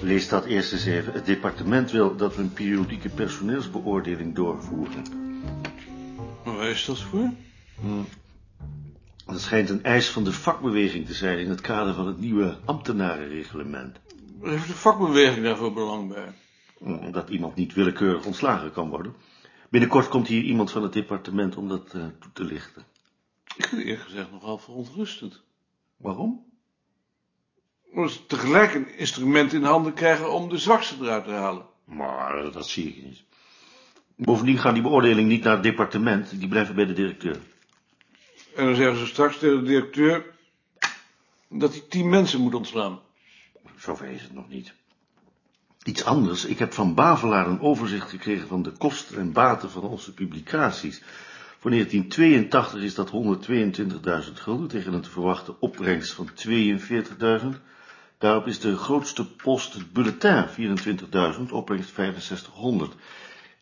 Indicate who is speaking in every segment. Speaker 1: lees dat eerst eens even. Het departement wil dat we een periodieke personeelsbeoordeling doorvoeren.
Speaker 2: Waar is dat voor?
Speaker 1: Dat schijnt een eis van de vakbeweging te zijn in het kader van het nieuwe ambtenarenreglement.
Speaker 2: Waar heeft de vakbeweging daarvoor belang bij?
Speaker 1: Omdat iemand niet willekeurig ontslagen kan worden. Binnenkort komt hier iemand van het departement om dat eh, toe te lichten.
Speaker 2: Ik vind het eerlijk gezegd nogal verontrustend.
Speaker 1: Waarom?
Speaker 2: Omdat ze tegelijk een instrument in handen krijgen om de zwakste eruit te halen.
Speaker 1: Maar eh, dat zie ik niet. Bovendien gaan die beoordelingen niet naar het departement, die blijven bij de directeur.
Speaker 2: En dan zeggen ze straks tegen de directeur dat hij tien mensen moet ontslaan.
Speaker 1: Zover is het nog niet. Iets anders, ik heb van Bavelaar een overzicht gekregen van de kosten en baten van onze publicaties. Voor 1982 is dat 122.000 gulden tegen een te verwachte opbrengst van 42.000. Daarop is de grootste post het bulletin, 24.000, opbrengst 6500.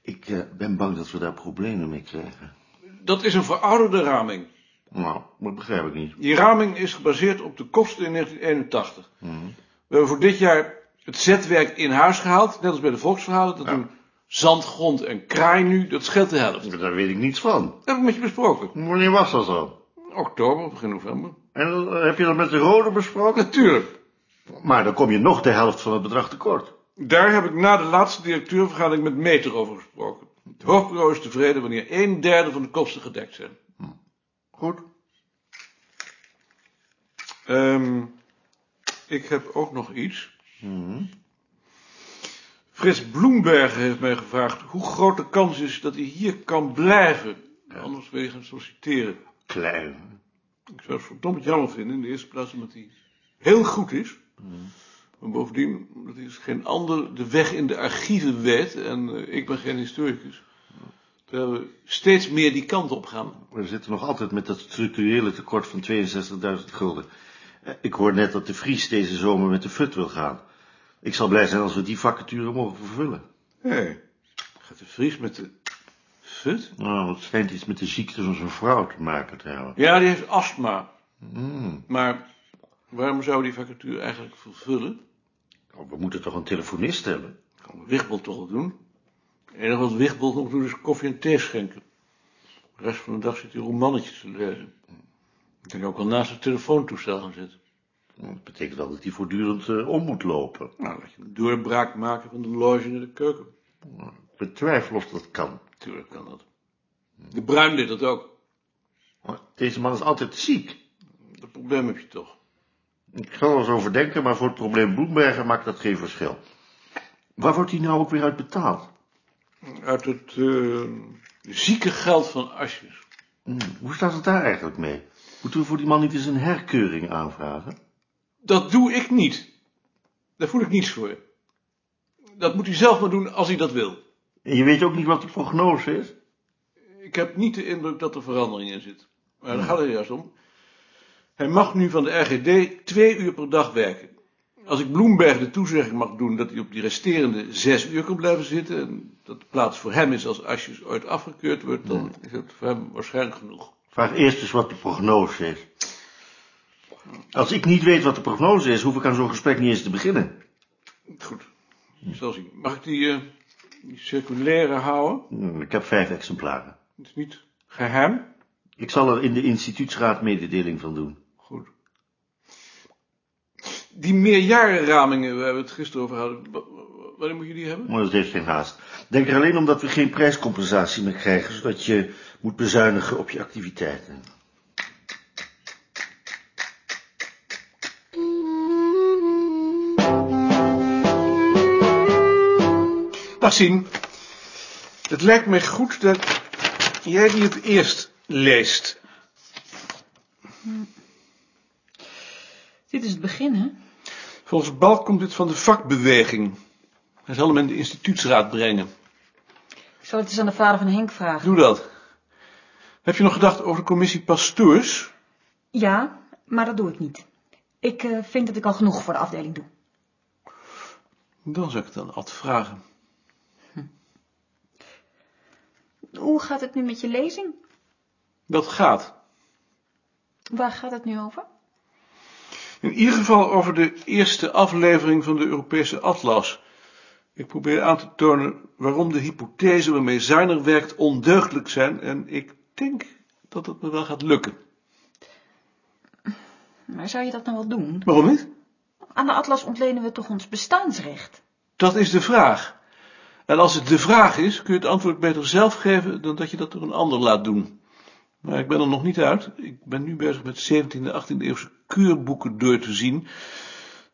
Speaker 1: Ik eh, ben bang dat we daar problemen mee krijgen.
Speaker 2: Dat is een verouderde raming.
Speaker 1: Nou, dat begrijp ik niet.
Speaker 2: Die raming is gebaseerd op de kosten in 1981. We hebben voor dit jaar het zetwerk in huis gehaald, net als bij de volksverhalen. Dat doen zand, grond en kraai nu, dat scheelt de helft. Dat
Speaker 1: Daar weet ik niets van.
Speaker 2: heb ik met je besproken.
Speaker 1: Wanneer was dat dan?
Speaker 2: Oktober, begin november.
Speaker 1: En eh, heb je dat met de rode besproken?
Speaker 2: Natuurlijk.
Speaker 1: Maar dan kom je nog de helft van het bedrag tekort.
Speaker 2: Daar heb ik na de laatste directeurvergadering met Meter over gesproken. Het hoofdbureau is tevreden wanneer een derde van de kosten gedekt zijn.
Speaker 1: Goed.
Speaker 2: Ehm, ik heb ook nog iets. Frits Bloemberg heeft mij gevraagd hoe groot de kans is dat hij hier kan blijven. Anders wil je gaan solliciteren.
Speaker 1: Klein.
Speaker 2: Ik zou het verdomd jammer vinden in de eerste plaats omdat hij heel goed is. Maar bovendien omdat hij als geen ander de weg in de archieven weet. En eh, ik ben geen historicus. Terwijl we steeds meer die kant op gaan.
Speaker 1: We zitten nog altijd met dat structurele tekort van 62.000 gulden. Eh, Ik hoor net dat de Vries deze zomer met de FUT wil gaan. Ik zal blij zijn als we die vacature mogen vervullen.
Speaker 2: Hé. Gaat de Vries met de... Fut?
Speaker 1: Nou, het schijnt iets met de ziekte van zijn vrouw te maken te hebben. Hmm.
Speaker 2: Ja, die heeft astma. Maar waarom zou die vacature eigenlijk vervullen?
Speaker 1: Nou, We moeten toch een telefonist hebben?
Speaker 2: Kan Wichbold toch wel doen? Het enige wat Wichbold nog doet is koffie en thee schenken. De rest van de dag zit hij romannetjes te lezen. Ik denk ook al naast het telefoontoestel gaan zitten.
Speaker 1: Dat betekent wel dat hij voortdurend eh, om moet lopen.
Speaker 2: Nou, laat je een doorbraak maken van de loge naar de keuken.
Speaker 1: Ik betwijfel of dat kan.
Speaker 2: Tuurlijk kan dat. De Bruin deed dat ook.
Speaker 1: Maar Deze man is altijd ziek.
Speaker 2: Dat probleem heb je toch.
Speaker 1: Ik zal er eens over denken, maar voor het probleem Bloembergen maakt dat geen verschil. Waar wordt hij nou ook weer uit betaald?
Speaker 2: Uit het eh, zieke geld van Asjes.
Speaker 1: Hmm, Hoe staat het daar eigenlijk mee? Moeten we voor die man niet eens een herkeuring aanvragen?
Speaker 2: Dat doe ik niet. Daar voel ik niets voor. Dat moet hij zelf maar doen als hij dat wil.
Speaker 1: En je weet ook niet wat de prognose is?
Speaker 2: Ik heb niet de indruk dat er verandering in zit. Maar daar gaat het juist om. Hij mag nu van de RGD twee uur per dag werken. Als ik Bloemberg de toezegging mag doen dat hij op die resterende zes uur kan blijven zitten... en dat de plaats voor hem is als Asjes ooit afgekeurd wordt... dan is dat voor hem waarschijnlijk genoeg.
Speaker 1: Vraag eerst eens wat de prognose is. Als ik niet weet wat de prognose is, hoef ik aan zo'n gesprek niet eens te beginnen.
Speaker 2: Goed, ik zal zien. Mag ik die, eh, die circulaire houden?
Speaker 1: Hmm, Ik heb vijf exemplaren.
Speaker 2: Het is niet geheim.
Speaker 1: Ik zal er in de instituutsraad mededeling van doen.
Speaker 2: Goed. Die meerjarenramingen, we hebben het gisteren over gehad. Wa- wa- Wanneer moet je die hebben?
Speaker 1: Maar dat heeft geen haast. Denk er alleen om dat we geen prijscompensatie meer krijgen, zodat je moet bezuinigen op je activiteiten.
Speaker 2: Dag zien. Het lijkt mij goed dat jij die het eerst leest.
Speaker 3: Dit is het begin, hè?
Speaker 2: Volgens Balk komt dit van de vakbeweging. Hij zal hem in de instituutsraad brengen.
Speaker 3: Ik zal het eens aan de vader van Henk vragen.
Speaker 2: Doe dat. Heb je nog gedacht over de commissie pastoors?
Speaker 3: Ja, maar dat doe ik niet. Ik eh, vind dat ik al genoeg voor de afdeling doe.
Speaker 2: Dan zou ik het aan Ad vragen.
Speaker 3: Hoe gaat het nu met je lezing?
Speaker 2: Dat gaat.
Speaker 3: Waar gaat het nu over?
Speaker 2: Ja, In ieder geval over de eerste aflevering van de Europese Atlas. Ik probeer aan te tonen waarom de hypothese waarmee Zuiner werkt ondeugdelijk zijn en ik denk dat het me wel gaat lukken.
Speaker 3: Maar zou je dat nou wel doen?
Speaker 2: Waarom niet?
Speaker 3: Aan de atlas ontlenen we toch ons bestaansrecht?
Speaker 2: Dat is de vraag. En als het de vraag is, kun je het antwoord beter zelf geven dan dat je dat door een ander laat doen. Maar ik ben er nog niet uit. Ik ben nu bezig met 17e, 18e eeuwse keurboeken door te zien.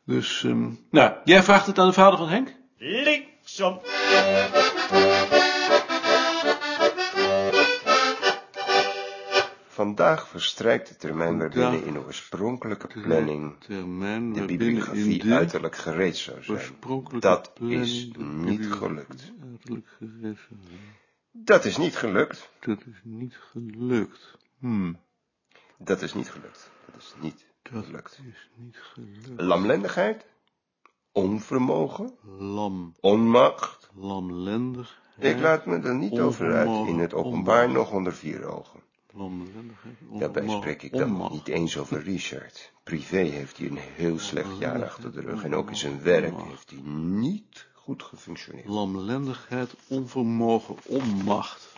Speaker 2: Dus, ehm, nou, jij vraagt het aan de vader van Henk?
Speaker 4: Linksom.
Speaker 5: Vandaag verstrijkt de termijn waarbinnen
Speaker 2: Vandaag
Speaker 5: in de oorspronkelijke planning
Speaker 2: Termijn
Speaker 5: de
Speaker 2: waarbinnen
Speaker 5: bibliografie
Speaker 2: in de
Speaker 5: uiterlijk gereed zou zijn.
Speaker 2: oorspronkelijke
Speaker 5: Dat
Speaker 2: planning
Speaker 5: is
Speaker 2: de
Speaker 5: niet
Speaker 2: bibliografie
Speaker 5: gelukt.
Speaker 2: uiterlijk gereserveerd.
Speaker 5: Dat is niet gelukt.
Speaker 2: Dat is niet gelukt. Hmm.
Speaker 5: Dat is niet gelukt. Dat is niet
Speaker 2: Dat
Speaker 5: gelukt.
Speaker 2: is niet gelukt.
Speaker 5: Lamlendigheid, onvermogen,
Speaker 2: Lam,
Speaker 5: onmacht.
Speaker 2: lamlendig.
Speaker 5: Ik laat me er niet over uit in het
Speaker 2: Onvermogen,
Speaker 5: openbaar
Speaker 2: onmacht.
Speaker 5: nog onder vier ogen.
Speaker 2: Lamlendigheid.
Speaker 5: Daarbij
Speaker 2: onmacht,
Speaker 5: spreek ik dan nog
Speaker 2: onmacht.
Speaker 5: niet eens over Richard. Privé heeft hij een heel slecht jaar achter de rug en ook in zijn
Speaker 2: Onmacht,
Speaker 5: werk
Speaker 2: onmacht.
Speaker 5: heeft hij niet goed gefunctioneerd.
Speaker 2: Lamlendigheid, onvermogen, onmacht.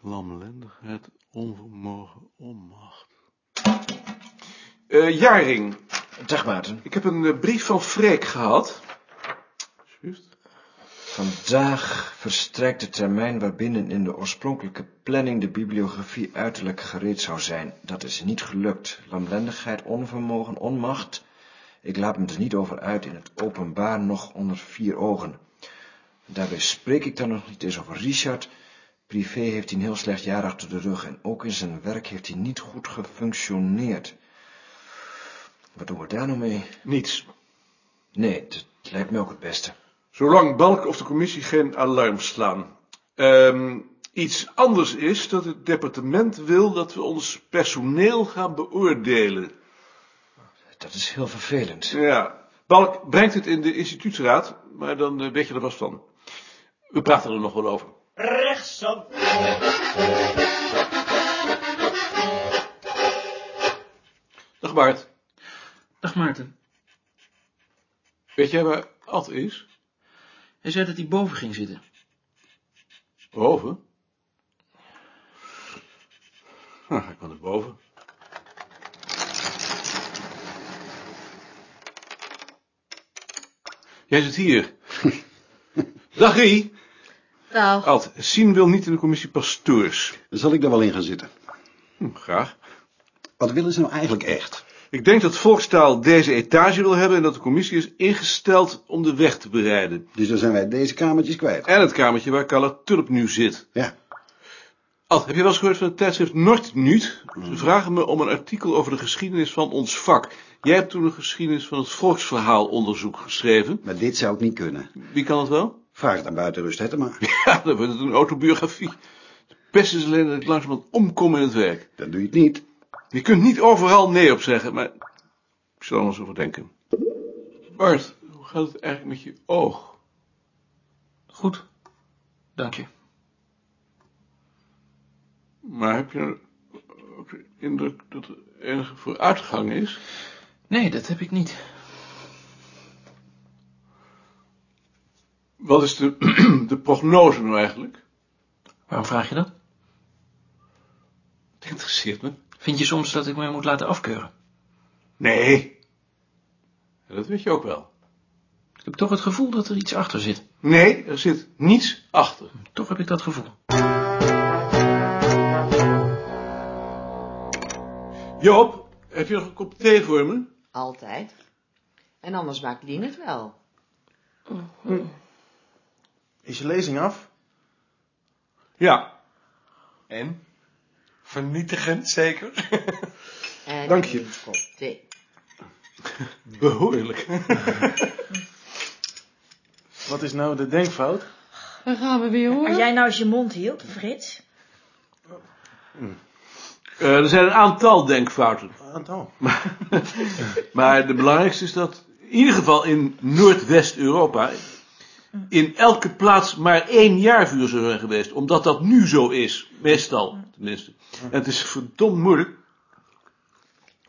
Speaker 2: Lamlendigheid, onvermogen, onmacht. Eh, Jaring,
Speaker 4: Dag Maarten.
Speaker 2: ik heb een eh, brief van Freek gehad. Juist.
Speaker 4: Vandaag verstrijkt de termijn waarbinnen in de oorspronkelijke planning de bibliografie uiterlijk gereed zou zijn. Dat is niet gelukt. Lamlendigheid, onvermogen, onmacht. Ik laat me er niet over uit in het openbaar nog onder vier ogen. Daarbij spreek ik dan nog niet eens over Richard. Privé heeft hij een heel slecht jaar achter de rug en ook in zijn werk heeft hij niet goed gefunctioneerd. Wat doen we daar nou mee?
Speaker 2: Niets.
Speaker 4: Nee, het lijkt me ook het beste.
Speaker 2: Zolang Balk of de commissie geen alarm slaan. Ehm, iets anders is dat het departement wil dat we ons personeel gaan beoordelen.
Speaker 4: Dat is heel vervelend.
Speaker 2: Ja, Balk brengt het in de instituutsraad, maar dan eh, weet je er vast van. We praten er nog wel over.
Speaker 4: Rechtsom.
Speaker 2: Dag Bart,
Speaker 6: Dag Maarten.
Speaker 2: weet jij waar Ad is?
Speaker 6: Hij zei dat hij boven ging zitten.
Speaker 2: Boven? Nou, ga ik wel naar boven. Jij zit hier. Dag Rie.
Speaker 3: Nou,
Speaker 2: Ad, Sien wil niet in de commissie pastoors.
Speaker 7: Zal ik daar wel in gaan zitten?
Speaker 2: Hm, graag.
Speaker 7: Wat willen ze nou eigenlijk echt?
Speaker 2: Ik denk dat Volkstaal deze etage wil hebben en dat de commissie is ingesteld om de weg te bereiden.
Speaker 7: Dus dan zijn wij deze kamertjes kwijt.
Speaker 2: En het kamertje waar Carla Tulp nu zit.
Speaker 7: Ja,
Speaker 2: Ad, heb je wel eens gehoord van het tijdschrift Noordnuut? Ze vragen me om een artikel over de geschiedenis van ons vak. Jij hebt toen een geschiedenis van het volksverhaalonderzoek geschreven.
Speaker 7: maar dit zou ik niet kunnen.
Speaker 2: Wie kan dat wel?
Speaker 7: Vraag het aan buitenrust Hettema.
Speaker 2: Ja, dan wordt het een autobiografie. De pest is alleen dat ik langzamerhand omkom in het werk.
Speaker 7: Dat doe je het niet.
Speaker 2: Je kunt niet overal nee op zeggen, maar ik zal er eens over denken. Bart, hoe gaat het eigenlijk met je oog?
Speaker 6: Goed. Dank je.
Speaker 2: Maar heb je ook de indruk dat er enige vooruitgang is?
Speaker 6: Nee, dat heb ik niet.
Speaker 2: Wat is de, de prognose nou eigenlijk?
Speaker 6: Waarom vraag je dat?
Speaker 2: Het interesseert me.
Speaker 6: Vind je soms dat ik mij moet laten afkeuren?
Speaker 2: Nee. Dat weet je ook wel.
Speaker 6: Ik heb toch het gevoel dat er iets achter zit.
Speaker 2: Nee, er zit niets achter.
Speaker 6: Toch heb ik dat gevoel.
Speaker 2: Joop, heb je nog een kop thee voor me?
Speaker 8: Altijd. En anders maakt Lien het wel.
Speaker 4: Is je lezing af?
Speaker 2: Ja.
Speaker 9: En? Vernietigend, zeker?
Speaker 8: En
Speaker 2: Dank je.
Speaker 8: Een kop thee.
Speaker 2: Behoorlijk.
Speaker 9: Wat is nou de denkfout?
Speaker 10: Dan gaan we weer hoor.
Speaker 3: als jij nou eens je mond hield, Frits.
Speaker 2: Eh, er zijn een aantal denkfouten.
Speaker 9: Aantal.
Speaker 2: Maar de belangrijkste is dat in ieder geval in Noordwest-Europa in elke plaats maar één jaarvuur zou zijn geweest. Omdat dat nu zo is. Meestal, tenminste. En het is verdomd moeilijk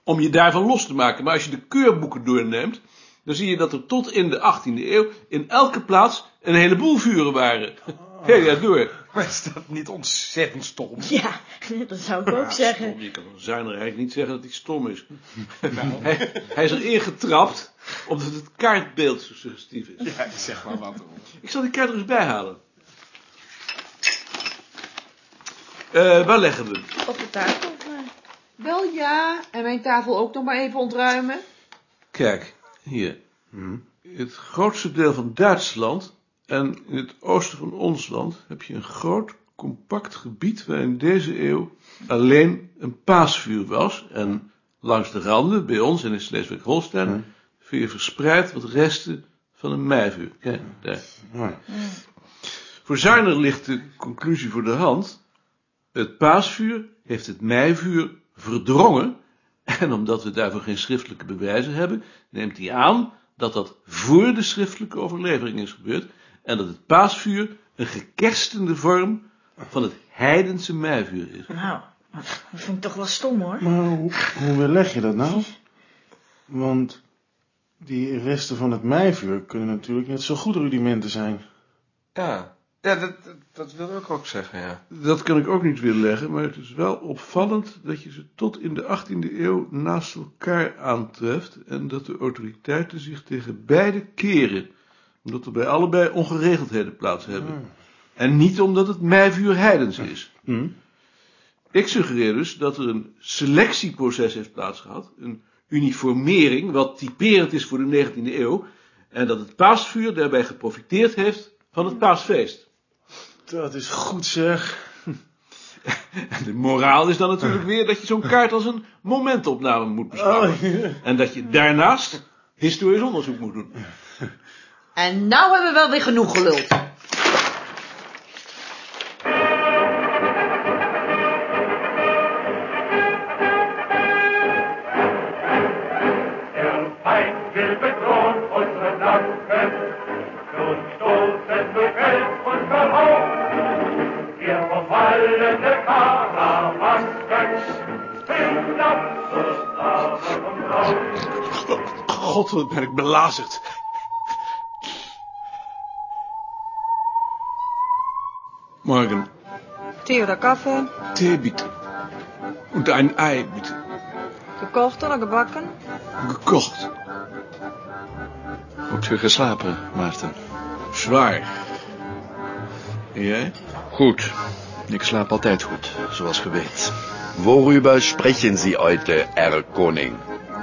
Speaker 2: om je daarvan los te maken. Maar als je de keurboeken doorneemt, dan zie je dat er tot in de 18e eeuw in elke plaats een heleboel vuren waren. Heel ja, door.
Speaker 9: Maar is dat niet ontzettend stom?
Speaker 10: Ja, dat zou ik
Speaker 6: Ah,
Speaker 10: ook zeggen.
Speaker 2: Stom, je kan van Zuiner eigenlijk niet zeggen dat hij stom is. hij, hij is erin getrapt, omdat het kaartbeeld zo suggestief is.
Speaker 9: Ja, zeg maar wat.
Speaker 2: Ik zal die kaart er eens bijhalen. Eh, waar leggen we hem?
Speaker 10: Op de tafel. maar-
Speaker 8: Wel ja, en mijn tafel ook nog maar even ontruimen.
Speaker 2: Kijk, hier. Het grootste deel van Duitsland en in het oosten van ons land heb je een groot, compact gebied waar in deze eeuw alleen een paasvuur was. En langs de randen, bij ons en in Sleeswijk-Holstein, vind je verspreid wat resten van een meivuur. Kijk, daar. Voor Zuiner ligt de conclusie voor de hand. Het paasvuur heeft het meivuur verdrongen en omdat we daarvoor geen schriftelijke bewijzen hebben, neemt hij aan dat dat voor de schriftelijke overlevering is gebeurd en dat het paasvuur een gekerstende vorm van het heidense meivuur is.
Speaker 10: Nou, dat vind ik toch wel stom hoor.
Speaker 11: Maar hoe, hoe beleg je dat nou? Want die resten van het meivuur kunnen natuurlijk net zo goed rudimenten zijn.
Speaker 9: Ja, ja dat, dat, dat wilde ik ook zeggen, ja.
Speaker 2: Dat kan ik ook niet weerleggen, maar het is wel opvallend dat je ze tot in de 18e eeuw naast elkaar aantreft en dat de autoriteiten zich tegen beide keren, omdat er bij allebei ongeregeldheden plaats hebben.
Speaker 11: Hmm.
Speaker 2: En niet omdat het meivuur heidens is. Ik suggereer dus dat er een selectieproces heeft plaatsgehad, een uniformering, wat typerend is voor de 19e eeuw, en dat het paasvuur daarbij geprofiteerd heeft van het paasfeest.
Speaker 11: Dat is goed zeg.
Speaker 2: En de moraal is dan natuurlijk weer dat je zo'n kaart als een momentopname moet beschouwen. En dat je daarnaast historisch onderzoek moet doen.
Speaker 8: En nou hebben we wel weer genoeg geluld.
Speaker 12: Der Feind will bedrohen unsere Flanken, nun stoßen wir Geld und Verhauen. Wir verfallene Karawanken sind abzustrafen und raus.
Speaker 2: God, wat ben ik belazerd. Morgen.
Speaker 13: Theodor Kaffee,
Speaker 2: Thee bitte. Und ein Ei bitte.
Speaker 13: gekocht oder gebakken?
Speaker 2: Gekocht.
Speaker 14: Goed weer geslapen, Maarten.
Speaker 2: Zwaar. En jij?
Speaker 14: Goed. Ik slaap altijd goed, zoals ge weet. Worüber sprechen Sie heute, Herr Koning?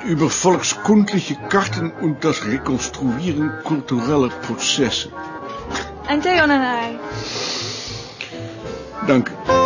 Speaker 2: Über volkskundliche Karten und das Rekonstruieren kultureller Prozesse.
Speaker 13: En Theo en hij.
Speaker 2: Dank u.